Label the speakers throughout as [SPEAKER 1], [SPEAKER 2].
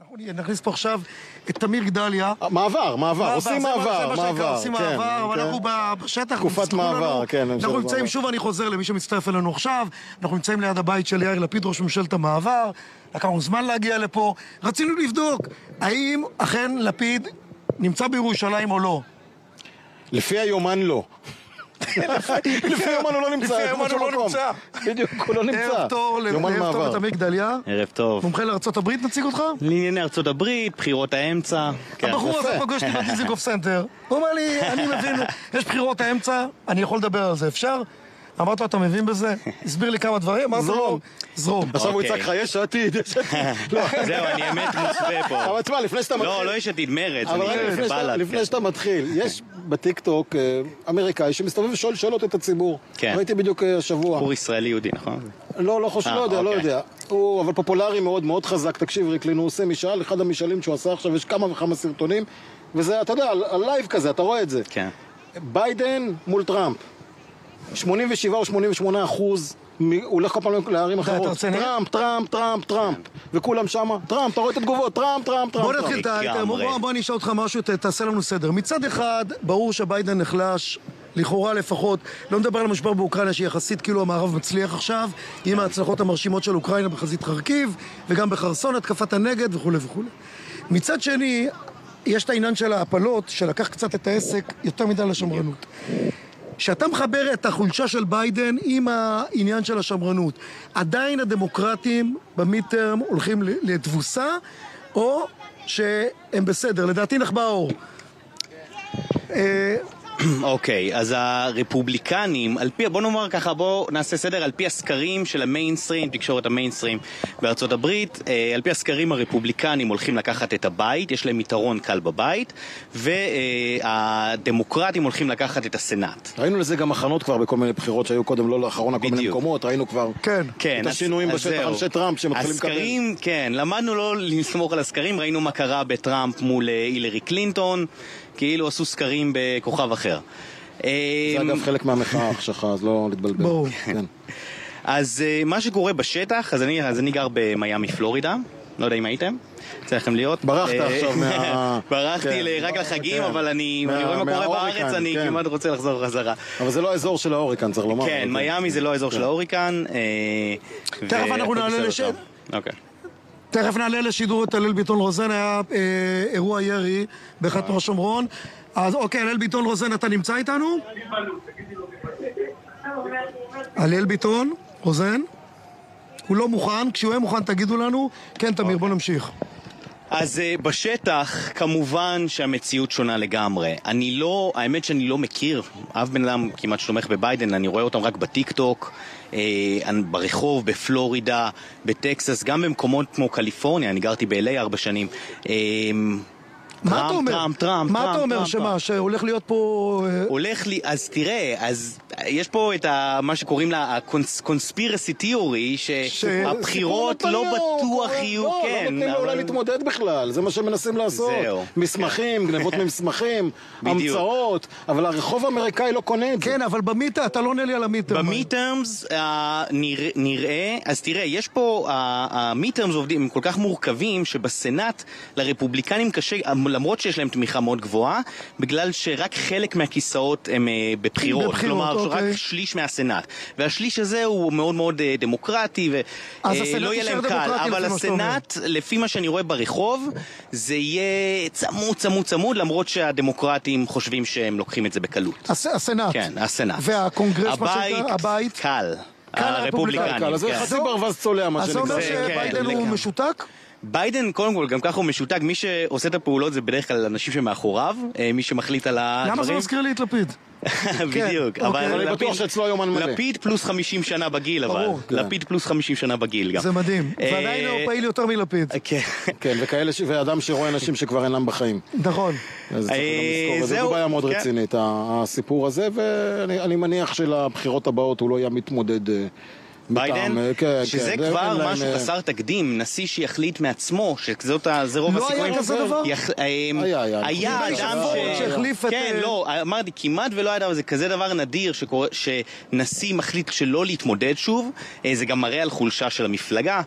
[SPEAKER 1] אנחנו נכניס פה עכשיו את תמיר גדליה.
[SPEAKER 2] מעבר, מעבר, אה, עושים
[SPEAKER 1] זה מה- זה
[SPEAKER 2] מעבר,
[SPEAKER 1] מה שנקרא,
[SPEAKER 2] מעבר,
[SPEAKER 1] עושים
[SPEAKER 2] כן,
[SPEAKER 1] מעבר, אבל
[SPEAKER 2] כן.
[SPEAKER 1] אנחנו ב- בשטח.
[SPEAKER 2] תקופת
[SPEAKER 1] תסלחו
[SPEAKER 2] מעבר,
[SPEAKER 1] לנו.
[SPEAKER 2] כן, ממשלת
[SPEAKER 1] אנחנו נמצאים,
[SPEAKER 2] מעבר.
[SPEAKER 1] שוב אני חוזר למי שמצטרף אלינו עכשיו, אנחנו נמצאים ליד הבית של יאיר לפיד, ראש ממשלת המעבר, לקח לנו זמן להגיע לפה, רצינו לבדוק האם אכן לפיד נמצא בירושלים או לא.
[SPEAKER 2] לפי היומן לא. לפי היומן הוא לא נמצא,
[SPEAKER 1] לפי
[SPEAKER 2] אין
[SPEAKER 1] היומן
[SPEAKER 2] שום
[SPEAKER 1] הוא לא
[SPEAKER 2] מקום.
[SPEAKER 1] נמצא.
[SPEAKER 2] בדיוק, הוא לא נמצא.
[SPEAKER 1] ערב טוב ל-
[SPEAKER 2] יומן
[SPEAKER 1] ערב טוב
[SPEAKER 2] מעבר.
[SPEAKER 1] לתמיר גדליה,
[SPEAKER 3] ערב טוב.
[SPEAKER 1] מומחה לארצות הברית נציג אותך?
[SPEAKER 3] לענייני ארצות הברית, בחירות האמצע. כן.
[SPEAKER 1] הבחור הזה
[SPEAKER 2] יפה.
[SPEAKER 1] פגש אותי בדיזינגוף סנטר, הוא אמר לי, אני מבין, יש בחירות האמצע, אני יכול לדבר על זה, אפשר? אמרתי לו, אתה מבין בזה? הסביר לי כמה דברים, אמרתי לו,
[SPEAKER 2] זרום.
[SPEAKER 1] זרום.
[SPEAKER 2] עכשיו הוא
[SPEAKER 3] אוקיי.
[SPEAKER 2] יצעק לך, יש עתיד, יש עתיד. לא.
[SPEAKER 3] זהו, אני אמת מוסווה פה.
[SPEAKER 2] אבל תשמע, לפני שאתה מתחיל...
[SPEAKER 3] לא, לא יש עתיד מרץ,
[SPEAKER 2] אבל
[SPEAKER 3] אני
[SPEAKER 2] רגע, לפני שאתה-
[SPEAKER 3] בל"ד. כן.
[SPEAKER 2] לפני שאתה מתחיל, יש בטיקטוק אה, אמריקאי שמסתובב ושואל שאלות את הציבור.
[SPEAKER 3] כן.
[SPEAKER 2] ראיתי בדיוק אה, השבוע.
[SPEAKER 3] בחור ישראלי יהודי, נכון?
[SPEAKER 2] לא, לא חושב,
[SPEAKER 3] אה,
[SPEAKER 2] לא יודע, לא
[SPEAKER 3] אוקיי.
[SPEAKER 2] יודע. הוא אבל פופולרי מאוד, מאוד חזק. תקשיב, ריקלין, הוא עושה משאל, אחד המשאלים שהוא עשה עכשיו, יש כמה וכמה סרטונים, וזה, אתה יודע, על על לייב כזה, אתה רואה את זה.
[SPEAKER 3] כן.
[SPEAKER 2] ביידן מול טראמפ. 87 או 88 אחוז, מ- הוא הולך כל פעם לערים
[SPEAKER 1] אתה
[SPEAKER 2] אחרות.
[SPEAKER 1] רציני?
[SPEAKER 2] טראמפ, טראמפ, טראמפ, טראמפ. וכולם שמה, טראמפ, אתה רואה את התגובות, טראמפ, טראמפ, טראמפ.
[SPEAKER 1] בוא
[SPEAKER 2] טראמפ.
[SPEAKER 1] נתחיל את האייטם,
[SPEAKER 3] לגמרי.
[SPEAKER 1] בוא- בוא אני אשאל אותך משהו, ת- תעשה לנו סדר. מצד אחד, ברור שביידן נחלש, לכאורה לפחות, לא מדבר על המשבר באוקראינה, שיחסית כאילו המערב מצליח עכשיו, עם ההצלחות המרשימות של אוקראינה בחזית חרקיב, וגם בחרסון, התקפת הנגד וכולי וכולי. מצד שני, יש את העניין של ההפלות, שלקח קצת את העסק יותר מדי לשמרנות. כשאתה מחבר את החולשה של ביידן עם העניין של השמרנות, עדיין הדמוקרטים במיטרם הולכים ל- לתבוסה, או שהם בסדר? לדעתי נחבא האור. אה,
[SPEAKER 3] אוקיי, אז הרפובליקנים, על פי, בוא נאמר ככה, בוא נעשה סדר, על פי הסקרים של המיינסטרים, תקשורת המיינסטרים בארצות הברית, אה, על פי הסקרים הרפובליקנים הולכים לקחת את הבית, יש להם יתרון קל בבית, והדמוקרטים הולכים לקחת את הסנאט.
[SPEAKER 2] ראינו לזה גם הכנות כבר בכל מיני בחירות שהיו קודם, לא לאחרונה, כל מיני
[SPEAKER 3] בדיוק.
[SPEAKER 2] מקומות, ראינו כבר
[SPEAKER 1] כן.
[SPEAKER 3] כן,
[SPEAKER 2] את
[SPEAKER 3] אז-
[SPEAKER 2] השינויים
[SPEAKER 3] אז
[SPEAKER 2] בשטח,
[SPEAKER 3] זהו.
[SPEAKER 2] אנשי טראמפ שמתחילים לקבל.
[SPEAKER 3] הסקרים, כן, למדנו לא לסמוך על הסקרים, ראינו מה קרה בטראמפ מול אה, הילרי קלינטון, כאילו עשו סקרים בכוכב אחר. אמ,
[SPEAKER 2] זה אגב חלק מהמחאה שלך, אז לא להתבלבל.
[SPEAKER 1] ברור.
[SPEAKER 2] כן.
[SPEAKER 3] אז אה, מה שקורה בשטח, אז אני, אז אני גר במיאמי, פלורידה, לא יודע אם הייתם, יצא לכם להיות.
[SPEAKER 2] ברחת
[SPEAKER 3] אה,
[SPEAKER 2] עכשיו מה-
[SPEAKER 3] ברחתי
[SPEAKER 2] כן.
[SPEAKER 3] ל- רק לחגים,
[SPEAKER 2] כן.
[SPEAKER 3] אבל אני,
[SPEAKER 2] מה-
[SPEAKER 3] אני רואה מה קורה
[SPEAKER 2] מההוריקן,
[SPEAKER 3] בארץ, אני
[SPEAKER 2] כן.
[SPEAKER 3] כמעט רוצה לחזור חזרה.
[SPEAKER 2] אבל זה לא האזור של ההוריקן, צריך לומר. אוקיי.
[SPEAKER 3] כן, מיאמי זה לא האזור של ההוריקן. אה,
[SPEAKER 1] תכף
[SPEAKER 3] ו-
[SPEAKER 1] אנחנו
[SPEAKER 3] הכל
[SPEAKER 1] נעלה
[SPEAKER 3] בסדר
[SPEAKER 1] לשם.
[SPEAKER 3] שם. אוקיי.
[SPEAKER 1] תכף נעלה לשידור את הלל ביטון רוזן, היה אה, אירוע ירי בחתמו השומרון. אז אוקיי, הלל ביטון רוזן, אתה נמצא איתנו? הלל ביטון, רוזן? הוא לא מוכן, כשהוא יהיה מוכן תגידו לנו. כן, תמיר, בוא נמשיך.
[SPEAKER 3] אז אה, בשטח, כמובן שהמציאות שונה לגמרי. אני לא, האמת שאני לא מכיר אף בן אדם כמעט שתומך בביידן, אני רואה אותם רק בטיקטוק, אה, אני- ברחוב, בפלורידה, בטקסס, גם במקומות כמו קליפורניה, אני גרתי ב-LA ארבע שנים. אה,
[SPEAKER 1] מה
[SPEAKER 3] טראמפ,
[SPEAKER 1] אתה אומר?
[SPEAKER 3] טראמפ, טראמפ,
[SPEAKER 1] מה אתה
[SPEAKER 3] טראמפ,
[SPEAKER 1] אומר
[SPEAKER 3] טראמפ,
[SPEAKER 1] שמה,
[SPEAKER 3] טראמפ.
[SPEAKER 1] שהולך להיות פה... אה,
[SPEAKER 3] הולך לי, אז תראה, אז יש פה את ה, מה שקוראים לה הקונספירסי תיאורי, שהבחירות
[SPEAKER 2] סיפור
[SPEAKER 3] לא
[SPEAKER 2] נתניהו,
[SPEAKER 3] בטוח
[SPEAKER 2] קורה-
[SPEAKER 3] יהיו,
[SPEAKER 2] לא,
[SPEAKER 3] כן.
[SPEAKER 2] לא נותנים לו
[SPEAKER 3] אבל-
[SPEAKER 2] אולי להתמודד בכלל, זה מה שמנסים לעשות.
[SPEAKER 3] זהו. כן.
[SPEAKER 2] מסמכים, גנבות ממסמכים,
[SPEAKER 3] בדיוק.
[SPEAKER 2] המצאות, אבל הרחוב האמריקאי לא קונה את זה.
[SPEAKER 1] כן, אבל במיטה, אתה לא עונה לי על המיטה.
[SPEAKER 3] במיטרמס uh, נרא, נראה, אז תראה, יש פה, המיטרמס עובדים, הם כל כך מורכבים שבסנאט לרפובליקנים קשה, למרות שיש להם תמיכה מאוד גבוהה, בגלל שרק חלק מהכיסאות הם uh, בבחירות.
[SPEAKER 1] בבחירות,
[SPEAKER 3] כלומר,
[SPEAKER 1] אוקיי.
[SPEAKER 3] רק שליש מהסנאט. והשליש הזה הוא מאוד מאוד uh, דמוקרטי,
[SPEAKER 1] אז הסנאט
[SPEAKER 3] ולא יהיה
[SPEAKER 1] יישאר
[SPEAKER 3] להם קל.
[SPEAKER 1] דמוקרטי,
[SPEAKER 3] אבל
[SPEAKER 1] לפי מה שאתה אומר.
[SPEAKER 3] הסנאט, לפי מה שאני רואה ברחוב, זה יהיה צמוד צמוד צמוד, למרות שהדמוקרטים חושבים שהם לוקחים את זה בקלות.
[SPEAKER 1] הס- הסנאט.
[SPEAKER 3] כן, הסנאט. כן,
[SPEAKER 1] והקונגרס, מה שנקרא, הבית.
[SPEAKER 3] קל.
[SPEAKER 1] קל הרפובליקנים,
[SPEAKER 2] קל, אז זה
[SPEAKER 3] כן.
[SPEAKER 2] חצי ברווז צולע, מה
[SPEAKER 1] אז זה אומר
[SPEAKER 2] שנקרא.
[SPEAKER 3] זה, כן,
[SPEAKER 1] שביידן הוא
[SPEAKER 3] לגמרי.
[SPEAKER 1] משותק?
[SPEAKER 3] ביידן, קודם כל, גם ככה הוא משותק, מי שעושה את הפעולות זה בדרך כלל אנשים שמאחוריו, אה, מי שמחליט על הדברים.
[SPEAKER 1] למה זה מזכיר לי את לפיד?
[SPEAKER 3] בדיוק.
[SPEAKER 1] כן, אוקיי.
[SPEAKER 2] אבל אני בטוח
[SPEAKER 3] לפיד-
[SPEAKER 2] שאצלו היומן מלא.
[SPEAKER 3] לפיד פלוס 50 שנה בגיל, אבל.
[SPEAKER 1] ברור,
[SPEAKER 2] כן.
[SPEAKER 3] לפיד פלוס 50 שנה בגיל גם.
[SPEAKER 1] זה מדהים.
[SPEAKER 3] אה,
[SPEAKER 1] ועדיין הוא פעיל יותר מלפיד.
[SPEAKER 3] כן.
[SPEAKER 2] כן, וכאלה ש- ואדם שרואה אנשים שכבר אינם בחיים.
[SPEAKER 1] נכון.
[SPEAKER 2] אז צריך גם
[SPEAKER 3] אה,
[SPEAKER 2] לזכור, וזו
[SPEAKER 3] זהו,
[SPEAKER 2] בעיה מאוד
[SPEAKER 3] כן.
[SPEAKER 2] רצינית, ה- הסיפור הזה, ואני אני מניח שלבחירות הבאות הוא לא יהיה מתמודד אה,
[SPEAKER 3] ביידן,
[SPEAKER 2] מטעם, אה, כן,
[SPEAKER 3] שזה
[SPEAKER 2] כן, אין
[SPEAKER 3] כבר
[SPEAKER 2] להם,
[SPEAKER 3] משהו
[SPEAKER 2] אה,
[SPEAKER 3] חסר תקדים, נשיא שיחליט מעצמו, שזאת ה- זה רוב
[SPEAKER 1] לא
[SPEAKER 3] הסיכויים.
[SPEAKER 1] היה כזה דבר?
[SPEAKER 3] יח- אמ,
[SPEAKER 2] היה, היה.
[SPEAKER 3] היה
[SPEAKER 2] קיבל
[SPEAKER 3] אדם
[SPEAKER 2] שפורד
[SPEAKER 3] ש...
[SPEAKER 1] שהחליף את,
[SPEAKER 3] כן,
[SPEAKER 1] אה,
[SPEAKER 3] לא, אמרתי, כמעט ולא היה דבר, זה כזה דבר נדיר שקורה- שנשיא מחליט שלא להתמודד שוב, אה, זה גם מראה על חולשה של המפלגה.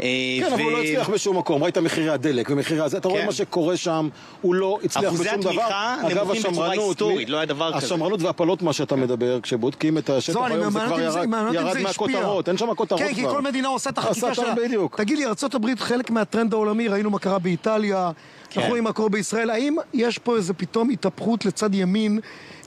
[SPEAKER 3] אה,
[SPEAKER 2] כן, אבל הוא לא הצליח בשום מקום, ראית מחירי הדלק ומחירי הזה, אתה רואה
[SPEAKER 3] כן.
[SPEAKER 2] מה שקורה שם, הוא לא הצליח
[SPEAKER 3] אחוזי
[SPEAKER 2] בשום דבר.
[SPEAKER 3] התמיכה
[SPEAKER 2] אגב,
[SPEAKER 3] נמוכים בצורה
[SPEAKER 2] השמרנות,
[SPEAKER 3] היסטורית,
[SPEAKER 2] מי-
[SPEAKER 3] לא היה דבר כזה.
[SPEAKER 2] השמרנות והפלות, מה שאתה מדבר, כשבודקים את השטח
[SPEAKER 1] זו, אני
[SPEAKER 2] היום, זה
[SPEAKER 1] מעניין
[SPEAKER 2] כבר
[SPEAKER 1] אם זה-
[SPEAKER 2] ירד
[SPEAKER 1] מעניין אם
[SPEAKER 2] ירד
[SPEAKER 1] זה השפיע.
[SPEAKER 2] מהכותרות, אין שם כותרות כבר.
[SPEAKER 1] כן, כי כל מדינה עושה את החקיקה
[SPEAKER 2] עשה
[SPEAKER 1] שלה.
[SPEAKER 2] את ה- בדיוק.
[SPEAKER 1] תגיד לי, ארה"ב חלק מהטרנד העולמי, ראינו מה קרה באיטליה,
[SPEAKER 2] כן.
[SPEAKER 1] אנחנו רואים מה קורה בישראל, האם יש פה איזה פתאום התהפכות לצד ימין,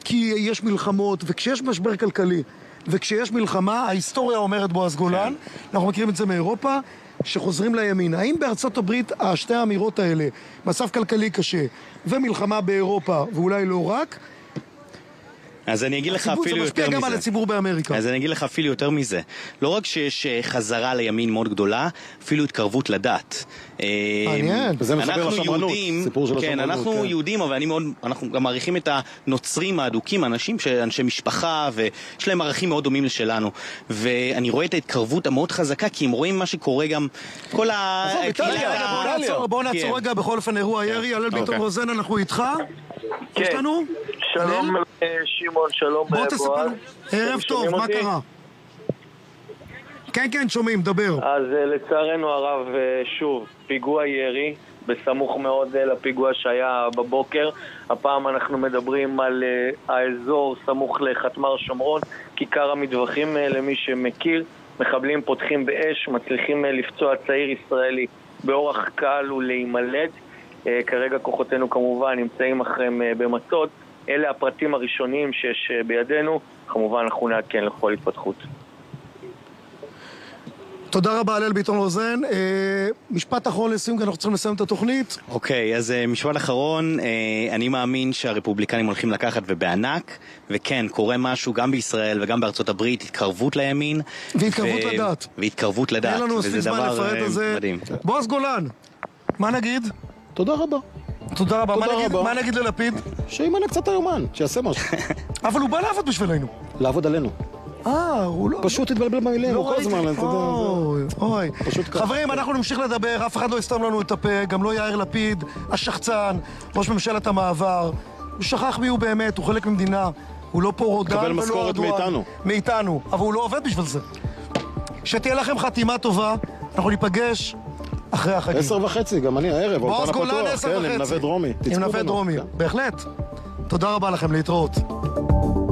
[SPEAKER 1] כי יש מלחמות, וכשיש משבר כלכלי, וכשיש מלחמה, ההיסטוריה אומרת
[SPEAKER 2] כן.
[SPEAKER 1] בועז גולן, אנחנו מכירים את זה מאירופה, שחוזרים לימין. האם בארצות הברית שתי האמירות האלה, מצב כלכלי קשה ומלחמה באירופה, ואולי לא רק,
[SPEAKER 3] אז אני אגיד לך
[SPEAKER 1] הציבור- זה
[SPEAKER 3] אפילו יותר
[SPEAKER 1] משפיע
[SPEAKER 3] מזה.
[SPEAKER 1] גם על הציבור באמריקה.
[SPEAKER 3] אז אני אגיד לך אפילו יותר מזה. לא רק שיש אה, חזרה לימין מאוד גדולה, אפילו התקרבות לדת. אה,
[SPEAKER 1] מעניין.
[SPEAKER 2] וזה מחבר
[SPEAKER 3] אנחנו
[SPEAKER 2] לשמרנות,
[SPEAKER 3] יהודים-
[SPEAKER 2] סיפור של
[SPEAKER 3] כן,
[SPEAKER 2] השמרנות,
[SPEAKER 3] אנחנו
[SPEAKER 2] כן.
[SPEAKER 3] יהודים, אבל אני מאוד, אנחנו גם מעריכים את הנוצרים האדוקים, אנשים שאנשי משפחה, ויש להם ערכים מאוד דומים לשלנו. ואני רואה את ההתקרבות המאוד חזקה, כי הם רואים מה שקורה גם, כל ה...
[SPEAKER 2] עזוב,
[SPEAKER 3] הקהילה-
[SPEAKER 2] איטליה,
[SPEAKER 1] רגע, בוא
[SPEAKER 2] איטליה.
[SPEAKER 1] נעצור, בוא
[SPEAKER 3] אה, כן.
[SPEAKER 1] נעצור רגע בכל אופן אירוע ירי, הלל ביטון
[SPEAKER 3] אוקיי.
[SPEAKER 1] רוזן, אנחנו איתך?
[SPEAKER 4] כן.
[SPEAKER 1] יש לנו?
[SPEAKER 4] שלום
[SPEAKER 1] הלל?
[SPEAKER 4] אה, שמעון, שלום
[SPEAKER 1] אוקיי. בוא
[SPEAKER 4] אה,
[SPEAKER 1] תספר
[SPEAKER 4] בועז.
[SPEAKER 1] לנו. ערב
[SPEAKER 4] אתם
[SPEAKER 1] טוב,
[SPEAKER 4] שומעים
[SPEAKER 1] מה
[SPEAKER 4] אותי?
[SPEAKER 1] קרה? כן, כן, שומעים, דבר.
[SPEAKER 4] אז אה, לצערנו הרב, אה, שוב, פיגוע ירי, בסמוך מאוד אה, לפיגוע שהיה בבוקר. הפעם אנחנו מדברים על אה, האזור סמוך לחטמ"ר שומרון, כיכר המטווחים, אה, למי שמכיר. מחבלים פותחים באש, מצליחים אה, לפצוע צעיר ישראלי באורח קל ולהימלט. אה, כרגע כוחותינו כמובן נמצאים אחריהם אה, במצוד. אלה הפרטים הראשוניים שיש אה, בידינו. כמובן, אנחנו נעדכן לכל התפתחות.
[SPEAKER 1] תודה רבה, הלל ביטון רוזן. אה, משפט אחרון לסיום, כי אנחנו צריכים לסיים את התוכנית.
[SPEAKER 3] אוקיי, אז אה, משפט אחרון, אה, אני מאמין שהרפובליקנים הולכים לקחת ובענק, וכן, קורה משהו גם בישראל וגם בארצות הברית, התקרבות לימין.
[SPEAKER 1] והתקרבות לדת.
[SPEAKER 3] והתקרבות לדת,
[SPEAKER 1] אין לנו מספיק
[SPEAKER 3] וזה
[SPEAKER 1] זמן
[SPEAKER 3] דבר,
[SPEAKER 1] לפרט
[SPEAKER 3] אה,
[SPEAKER 1] על זה.
[SPEAKER 3] מדהים.
[SPEAKER 1] בועז גולן, מה נגיד?
[SPEAKER 2] תודה רבה.
[SPEAKER 1] תודה רבה. מה
[SPEAKER 2] תודה
[SPEAKER 1] נגיד-
[SPEAKER 2] רבה.
[SPEAKER 1] מה נגיד ללפיד?
[SPEAKER 2] שימנה קצת היומן, שיעשה משהו.
[SPEAKER 1] אבל הוא בא לעבוד בשבילנו.
[SPEAKER 2] לעבוד עלינו.
[SPEAKER 1] אה, הוא לא...
[SPEAKER 2] פשוט התבלבל במילים, הוא כל הזמן, אתה יודע. זה-
[SPEAKER 1] אוי, אוי.
[SPEAKER 2] פשוט ככה.
[SPEAKER 1] חברים, אנחנו נמשיך לדבר, אף אחד לא יסתום לנו את הפה, גם לא יאיר לפיד, השחצן, ראש ממשלת המעבר. הוא שכח מי הוא באמת, הוא חלק ממדינה. הוא לא פה רודן
[SPEAKER 2] מקבל
[SPEAKER 1] ולא
[SPEAKER 2] משכורת
[SPEAKER 1] ארדואן.
[SPEAKER 2] מאיתנו.
[SPEAKER 1] מאיתנו, אבל הוא לא עובד בשביל זה. שתהיה לכם חתימה טובה, אנחנו ניפגש אחרי החגים.
[SPEAKER 2] עשר וחצי, גם אני הערב,
[SPEAKER 1] בועז
[SPEAKER 2] האולפן
[SPEAKER 1] גולן,
[SPEAKER 2] הפתוח,
[SPEAKER 1] עשר
[SPEAKER 2] כן,
[SPEAKER 1] וחצי.
[SPEAKER 2] עם נווה דרומי. כן.
[SPEAKER 1] עם
[SPEAKER 2] תצפו
[SPEAKER 1] נווה
[SPEAKER 2] בנו,
[SPEAKER 1] דרומי,
[SPEAKER 2] כן.
[SPEAKER 1] בהחלט. תודה רבה לכם, להתראות.